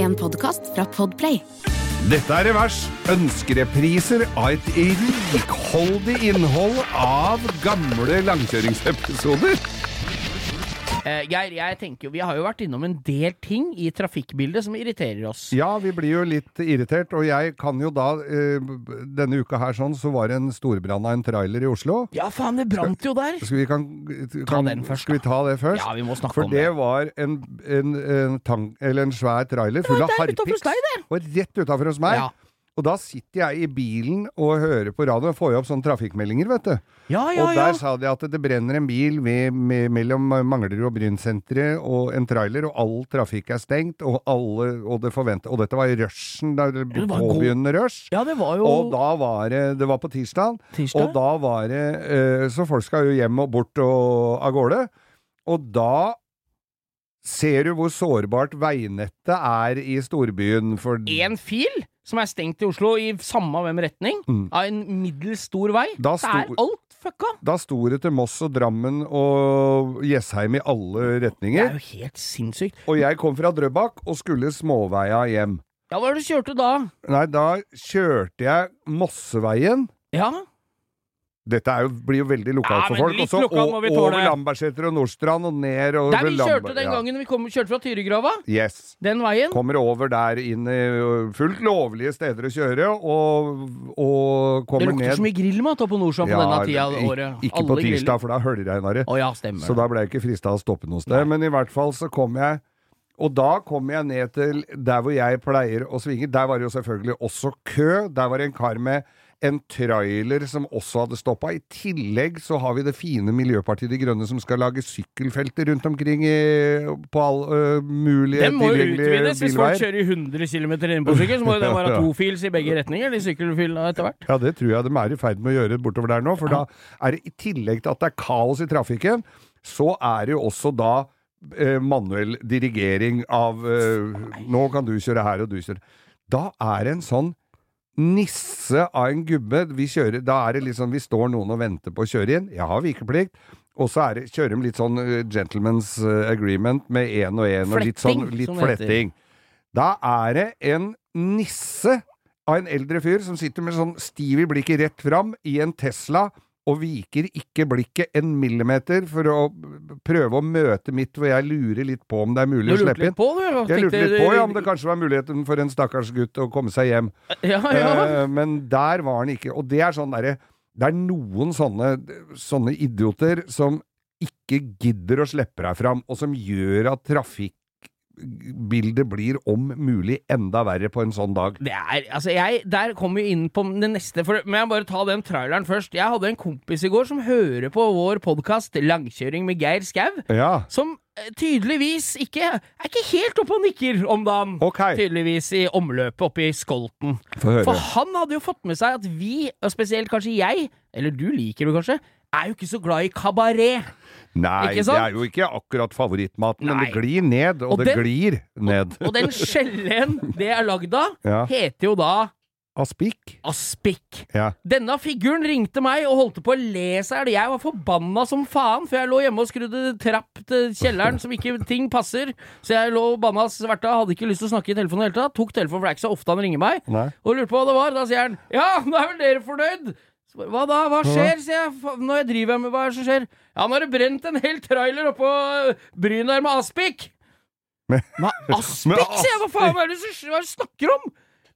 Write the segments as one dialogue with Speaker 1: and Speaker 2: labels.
Speaker 1: en podkast fra Podplay.
Speaker 2: Dette er Revers. Ønskerepriser av et rikholdig innhold av gamle langkjøringsepisoder.
Speaker 3: Eh, Geir, jeg tenker jo, vi har jo vært innom en del ting i trafikkbildet som irriterer oss.
Speaker 2: Ja, vi blir jo litt irritert, og jeg kan jo da eh, Denne uka her sånn, så var det en storbrann av en trailer i Oslo.
Speaker 3: Ja, faen, det brant jo der!
Speaker 2: Skal vi, kan, kan,
Speaker 3: den først,
Speaker 2: skal vi
Speaker 3: da.
Speaker 2: ta det først?
Speaker 3: Ja, vi må snakke
Speaker 2: For
Speaker 3: om
Speaker 2: det
Speaker 3: det.
Speaker 2: var en, en, en, tang, eller en svær trailer full av
Speaker 3: der utenfor
Speaker 2: harpiks.
Speaker 3: hos deg, der.
Speaker 2: Og rett utafor hos meg.
Speaker 3: Ja.
Speaker 2: Og da sitter jeg i bilen og hører på radio og får jo opp sånne trafikkmeldinger, vet du.
Speaker 3: Ja, ja,
Speaker 2: og
Speaker 3: ja.
Speaker 2: der sa de at det brenner en bil ved, med, mellom Manglerud og Brynsenteret og en trailer, og all trafikk er stengt, og, alle, og det forventer Og dette var i rushen, da det
Speaker 3: det var en god-
Speaker 2: påbegynnende rush.
Speaker 3: Ja, det var jo
Speaker 2: Og da var det Det var på tirsdag.
Speaker 3: Tirsdag?
Speaker 2: Og da var det eh, Så folk skal jo hjem og bort og av gårde. Og da ser du hvor sårbart veinettet er i storbyen. For
Speaker 3: én fil som er stengt i Oslo, i samme hvem retning, av en middels stor vei.
Speaker 2: Mm. Da
Speaker 3: Det er
Speaker 2: sto-
Speaker 3: alt fucka!
Speaker 2: da sto det til Moss og Drammen og Jessheim i alle
Speaker 3: Det
Speaker 2: retninger.
Speaker 3: er jo helt sinnssykt.
Speaker 2: Og jeg kom fra Drøbak og skulle småveia hjem.
Speaker 3: Ja, hva er det du kjørte da?
Speaker 2: Nei, da kjørte jeg Mosseveien.
Speaker 3: Ja,
Speaker 2: Dette er jo, blir jo veldig lokalt
Speaker 3: Ja,
Speaker 2: for
Speaker 3: men
Speaker 2: folk.
Speaker 3: litt
Speaker 2: og så
Speaker 3: lokalt må
Speaker 2: o-
Speaker 3: vi tåle.
Speaker 2: over Lambertseter og Nordstrand og ned og
Speaker 3: Der vi
Speaker 2: ved
Speaker 3: kjørte
Speaker 2: Lamber-
Speaker 3: den
Speaker 2: ja.
Speaker 3: gangen vi kom, kjørte fra Tyrigrava.
Speaker 2: Yes.
Speaker 3: Den veien.
Speaker 2: Kommer over der inn i ø, fullt lovlige steder å kjøre, og, og
Speaker 3: Det
Speaker 2: kommer ned
Speaker 3: lukter så mye grillmat oppe på Nordstrand på denne tida av
Speaker 2: ik-
Speaker 3: året.
Speaker 2: Ikke på
Speaker 3: Alle griller.
Speaker 2: tirsdag, for da er høljregnere.
Speaker 3: Å ja, stemmer.
Speaker 2: Så da ble jeg ikke frista å stoppe noe sted. Men i hvert fall så kom jeg Og da kom jeg ned til der hvor jeg pleier å svinge. Der var det jo selvfølgelig også kø. Der var det en kar med en trailer som også hadde stoppa. I tillegg så har vi det fine Miljøpartiet De Grønne som skal lage sykkelfelter rundt omkring i, på all, ø, mulige
Speaker 3: Den må jo
Speaker 2: tilgjengelige
Speaker 3: utvides. Hvis folk
Speaker 2: bilveier.
Speaker 3: kjører i 100 km inne på sykkel, så må jo den være
Speaker 2: Ja.
Speaker 3: tofils i begge retninger. De sykkelfilene etter hvert.
Speaker 2: Ja, det tror jeg de er i ferd med å gjøre bortover der nå, for da er det i tillegg til at det er kaos i trafikken, så er det jo også da eh, manuell dirigering av eh, Nå kan du kjøre her, og du kjører Da er det en sånn nisse av en gubbe vi kjører, Da er det liksom Vi står noen og venter på å kjøre inn. Jeg har vikeplikt. Og så er det, kjører de litt sånn eh, gentleman's eh, agreement med én og én, og litt sånn
Speaker 3: Fletting,
Speaker 2: litt
Speaker 3: som det heter.
Speaker 2: fletting. Da er det en nisse av en eldre fyr som sitter med sånn stiv i blikket rett fram i en Tesla og viker ikke blikket en millimeter for å prøve å møte mitt, hvor jeg lurer litt på om det er
Speaker 3: Du
Speaker 2: mulig å
Speaker 3: lurte
Speaker 2: slippe
Speaker 3: litt
Speaker 2: inn.
Speaker 3: på, du? og
Speaker 2: Jeg lurte
Speaker 3: tenkte-
Speaker 2: litt på ja, om det kanskje var muligheten for en stakkars gutt å komme seg hjem.
Speaker 3: Ja, ja.
Speaker 2: Eh, Men der var han ikke. Og det er sånn derre Det er noen sånne, sånne idioter som ikke gidder å slippe deg fram, og som gjør at trafikkbildet blir om mulig enda verre på en sånn dag.
Speaker 3: Det er, altså jeg, Der kommer vi inn på det neste, for, men jeg bare ta den traileren først. Jeg hadde en kompis i går som hører på vår podkast Langkjøring med Geir Skau,
Speaker 2: Ja.
Speaker 3: som eh, tydeligvis ikke er ikke helt oppe og nikker om dagen.
Speaker 2: Ok.
Speaker 3: Tydeligvis i omløpet oppe i Skolten.
Speaker 2: Få høre.
Speaker 3: For han hadde jo fått med seg at vi, og spesielt kanskje jeg, eller du liker det kanskje, er jo ikke så glad i kabaret.
Speaker 2: Nei,
Speaker 3: Ikke
Speaker 2: det
Speaker 3: sant?
Speaker 2: er jo ikke akkurat favorittmaten, men
Speaker 3: Nei.
Speaker 2: det glir ned, og,
Speaker 3: Og
Speaker 2: det
Speaker 3: den-
Speaker 2: glir ned.
Speaker 3: Og den skjellen det er lagd av,
Speaker 2: Ja.
Speaker 3: heter jo da
Speaker 2: Aspik?
Speaker 3: aspik.
Speaker 2: Ja.
Speaker 3: Denne figuren ringte meg og holdt på å le seg i hjel. Jeg var forbanna som faen, for jeg lå hjemme og skrudde trapp til kjelleren som ikke ting passer. Så jeg lå banna sverta, hadde ikke lyst til å snakke i telefonen i det hele tatt. Tok telefonen, for det er ikke så ofte han ringer meg.
Speaker 2: Nei.
Speaker 3: Og lurte på hva det var. Da sier han 'ja, nå er vel dere fornøyd'? Så bare, Hva da? Hva skjer? sier jeg. Fa- Når jeg driver med hva er det som skjer? Ja, nå har det brent en hel trailer oppå øh, bryn der med aspik. Hva?
Speaker 2: Med
Speaker 3: Aspik, sier jeg! Hva faen er det du s- hva er det du snakker om?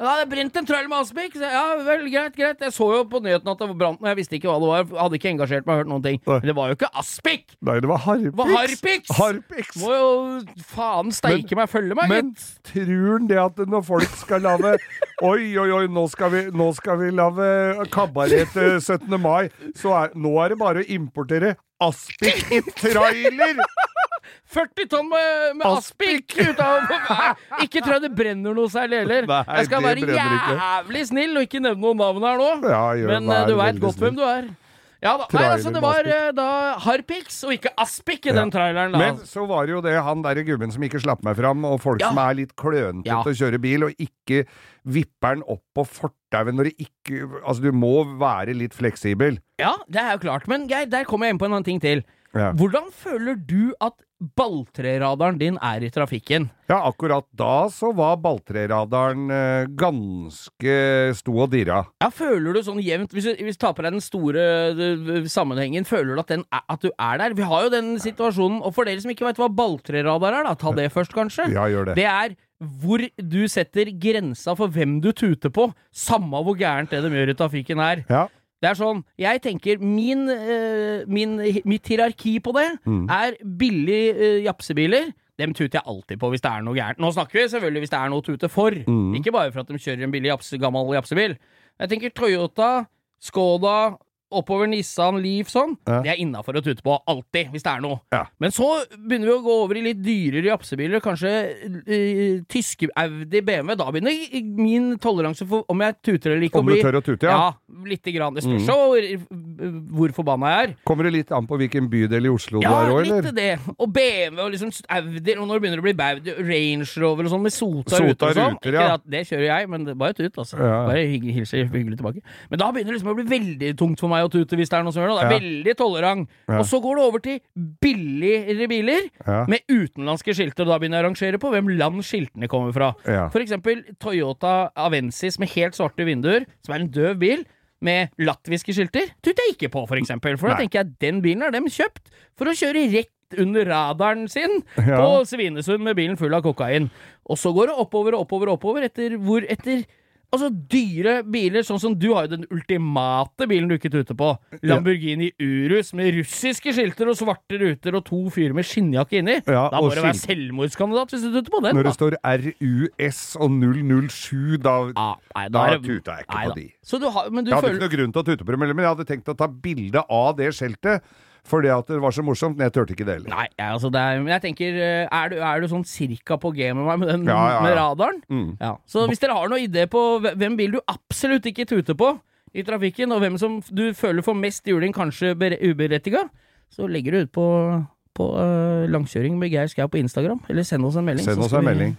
Speaker 3: Ja, det er brent en trailer med aspik. Så jeg, ja vel, greit, greit. Jeg så jo på nyheten at det brant noe, jeg visste ikke hva det var. Hadde ikke engasjert meg, hørt noen ting.
Speaker 2: Nei.
Speaker 3: Men det var jo ikke aspik!
Speaker 2: Nei, det var harpiks.
Speaker 3: Det var harpiks!
Speaker 2: Harpiks.
Speaker 3: Må jo faen steike meg følge meg,
Speaker 2: Men
Speaker 3: gitt.
Speaker 2: tror han det at når folk skal lage Oi, oi, oi, nå skal vi, nå skal vi lage kabaret til 17. mai, så er, nå er det bare å importere aspik i trailer!
Speaker 3: 40 tonn med, med aspik ut av Nei, Ikke tror jeg det brenner noe særlig heller.
Speaker 2: Nei,
Speaker 3: Jeg skal
Speaker 2: det
Speaker 3: være
Speaker 2: brenner ikke.
Speaker 3: jævlig snill og ikke nevne noen navn her nå.
Speaker 2: Ja, gjør
Speaker 3: men
Speaker 2: meg
Speaker 3: eh, du
Speaker 2: veldig
Speaker 3: veit godt
Speaker 2: snill.
Speaker 3: hvem du er. Ja da. Nei,
Speaker 2: Trailer
Speaker 3: altså,
Speaker 2: med
Speaker 3: det var
Speaker 2: aspik.
Speaker 3: eh, da Harpix og ikke Aspik i den traileren. Da.
Speaker 2: Men så var det jo det han derre gubben som ikke slapp meg fram, og folk
Speaker 3: Ja.
Speaker 2: som er litt klønete
Speaker 3: Ja.
Speaker 2: til å kjøre bil, og ikke vipper den opp på fortauet når det ikke Altså, du må være litt fleksibel.
Speaker 3: ja, det er jo klart. Men Geir, der kommer jeg inn på en annen ting til.
Speaker 2: Ja.
Speaker 3: Hvordan føler du at balltreradaren din er i trafikken.
Speaker 2: Ja, akkurat da så var balltreradaren eh, ganske sto og dirra.
Speaker 3: Ja, føler du sånn jevnt Hvis du, hvis du tar på deg den store øh, sammenhengen, føler du at, den er, at du er der? Vi har jo den situasjonen, og for dere som ikke veit hva balltreradar er, da, ta det først, kanskje.
Speaker 2: Ja, gjør det.
Speaker 3: Det er hvor du setter grensa for hvem du tuter på, samme hvor gærent det de gjør i trafikken er.
Speaker 2: Ja.
Speaker 3: Det er sånn, jeg tenker min, øh, min, mitt hierarki på det
Speaker 2: Mm.
Speaker 3: er billig øh, japsebiler. Dem tuter jeg alltid på hvis det er noe gærent. Nå snakker vi selvfølgelig hvis det er noe å tute for.
Speaker 2: Mm.
Speaker 3: Ikke bare for at de kjører en billig japse, gammel japsebil. Jeg tenker Toyota, Skoda, oppover Nissan, Leaf sånn.
Speaker 2: Ja.
Speaker 3: Det er innafor å tute på. Alltid, hvis det er noe.
Speaker 2: Ja.
Speaker 3: Men så begynner vi å gå over i litt dyrere japsebiler. Kanskje øh, tyske Audi, BMW. Da begynner min toleranse for om jeg tuter eller ikke
Speaker 2: Om
Speaker 3: å
Speaker 2: du
Speaker 3: bli
Speaker 2: tør å tute, ja. Mm.
Speaker 3: ja, lite grann. Det spørs jo hvor, hvor forbanna jeg er.
Speaker 2: Kommer det litt an på hvilken bydel i Oslo
Speaker 3: Ja,
Speaker 2: du er òg,
Speaker 3: litt
Speaker 2: eller?
Speaker 3: det. Og BMW og liksom Audi, og når det begynner å bli Audi, Range Rover og sånn, med sota
Speaker 2: Sota
Speaker 3: ruter og sånn.
Speaker 2: ruter,
Speaker 3: Ikke
Speaker 2: ja.
Speaker 3: at det kjører jeg, men det bare tut, altså.
Speaker 2: Ja.
Speaker 3: Bare hygg, hilser hyggelig tilbake. Men da begynner det liksom å bli veldig tungt for meg å tute hvis det er noe som gjør noe. Det er veldig tolerant.
Speaker 2: Ja.
Speaker 3: Og så går det over til billigere biler
Speaker 2: Ja.
Speaker 3: med utenlandske skilter, og da begynner jeg å rangere på hvem land skiltene kommer fra.
Speaker 2: Ja.
Speaker 3: For eksempel Toyota Avensis med helt svarte vinduer, som er en døv bil, med latviske skilter, tuter jeg ikke på, for eksempel. For da
Speaker 2: Nei.
Speaker 3: tenker jeg den bilen har dem kjøpt for å kjøre rett under radaren sin på
Speaker 2: Ja.
Speaker 3: Svinesund med bilen full av kokain. Og så går det oppover og oppover og oppover etter hvor etter Altså dyre biler, sånn som du har jo den ultimate bilen du ikke tuter på. Lamborghini Urus med russiske skilter og svarte ruter og to fyrer med skinnjakke inni.
Speaker 2: Ja,
Speaker 3: da
Speaker 2: og
Speaker 3: må du være
Speaker 2: skilt-
Speaker 3: selvmordskandidat hvis du tuter på den.
Speaker 2: Når
Speaker 3: da.
Speaker 2: det står RUS og 007, da
Speaker 3: Ja, nei,
Speaker 2: Da
Speaker 3: er det-
Speaker 2: tuta jeg ikke
Speaker 3: nei
Speaker 2: på
Speaker 3: da.
Speaker 2: de.
Speaker 3: Så du har, men du
Speaker 2: Jeg hadde
Speaker 3: føler
Speaker 2: ikke noe grunn til å tute på dem, heller, men jeg hadde tenkt å ta bilde av det skjeltet. Fordi at det var så morsomt, men jeg turte ikke det heller.
Speaker 3: Nei, ja, altså det er, men jeg tenker eh, Er du, er du sånn cirka på G med meg med, den,
Speaker 2: Ja, ja, ja.
Speaker 3: med radaren?
Speaker 2: Mm.
Speaker 3: Ja. Så hvis dere har noen idé på hve- hvem bil du absolutt ikke tuter på i trafikken, og hvem som f- du føler får mest juling, kanskje uberettiga, så legger du ut på, på eh, langkjøring med Geir Skau på Instagram. Eller send oss en melding.
Speaker 2: Send
Speaker 3: så
Speaker 2: oss en
Speaker 3: skal vi
Speaker 2: melding.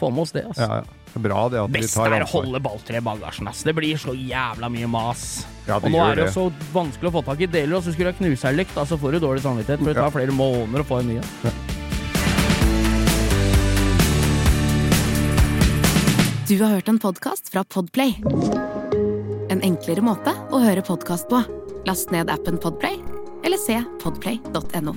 Speaker 3: Få med oss det, altså.
Speaker 2: Ja, ja. Det er Bra det at vi
Speaker 3: Best
Speaker 2: tar
Speaker 3: er å
Speaker 2: ansvar.
Speaker 3: holde balltre i bagasjen, ass. Det blir så jævla mye mas.
Speaker 2: Ja, det
Speaker 3: og nå
Speaker 2: gjør
Speaker 3: er det
Speaker 2: det.
Speaker 3: jo så vanskelig å få tak i deler, og så skulle du ha knuserlykt, da så får du dårlig samvittighet, for det tar flere måneder å få en ny en.
Speaker 1: Du har hørt en podcast fra Podplay En enklere måte å høre podcast på Last ned appen Podplay Eller se podplay.no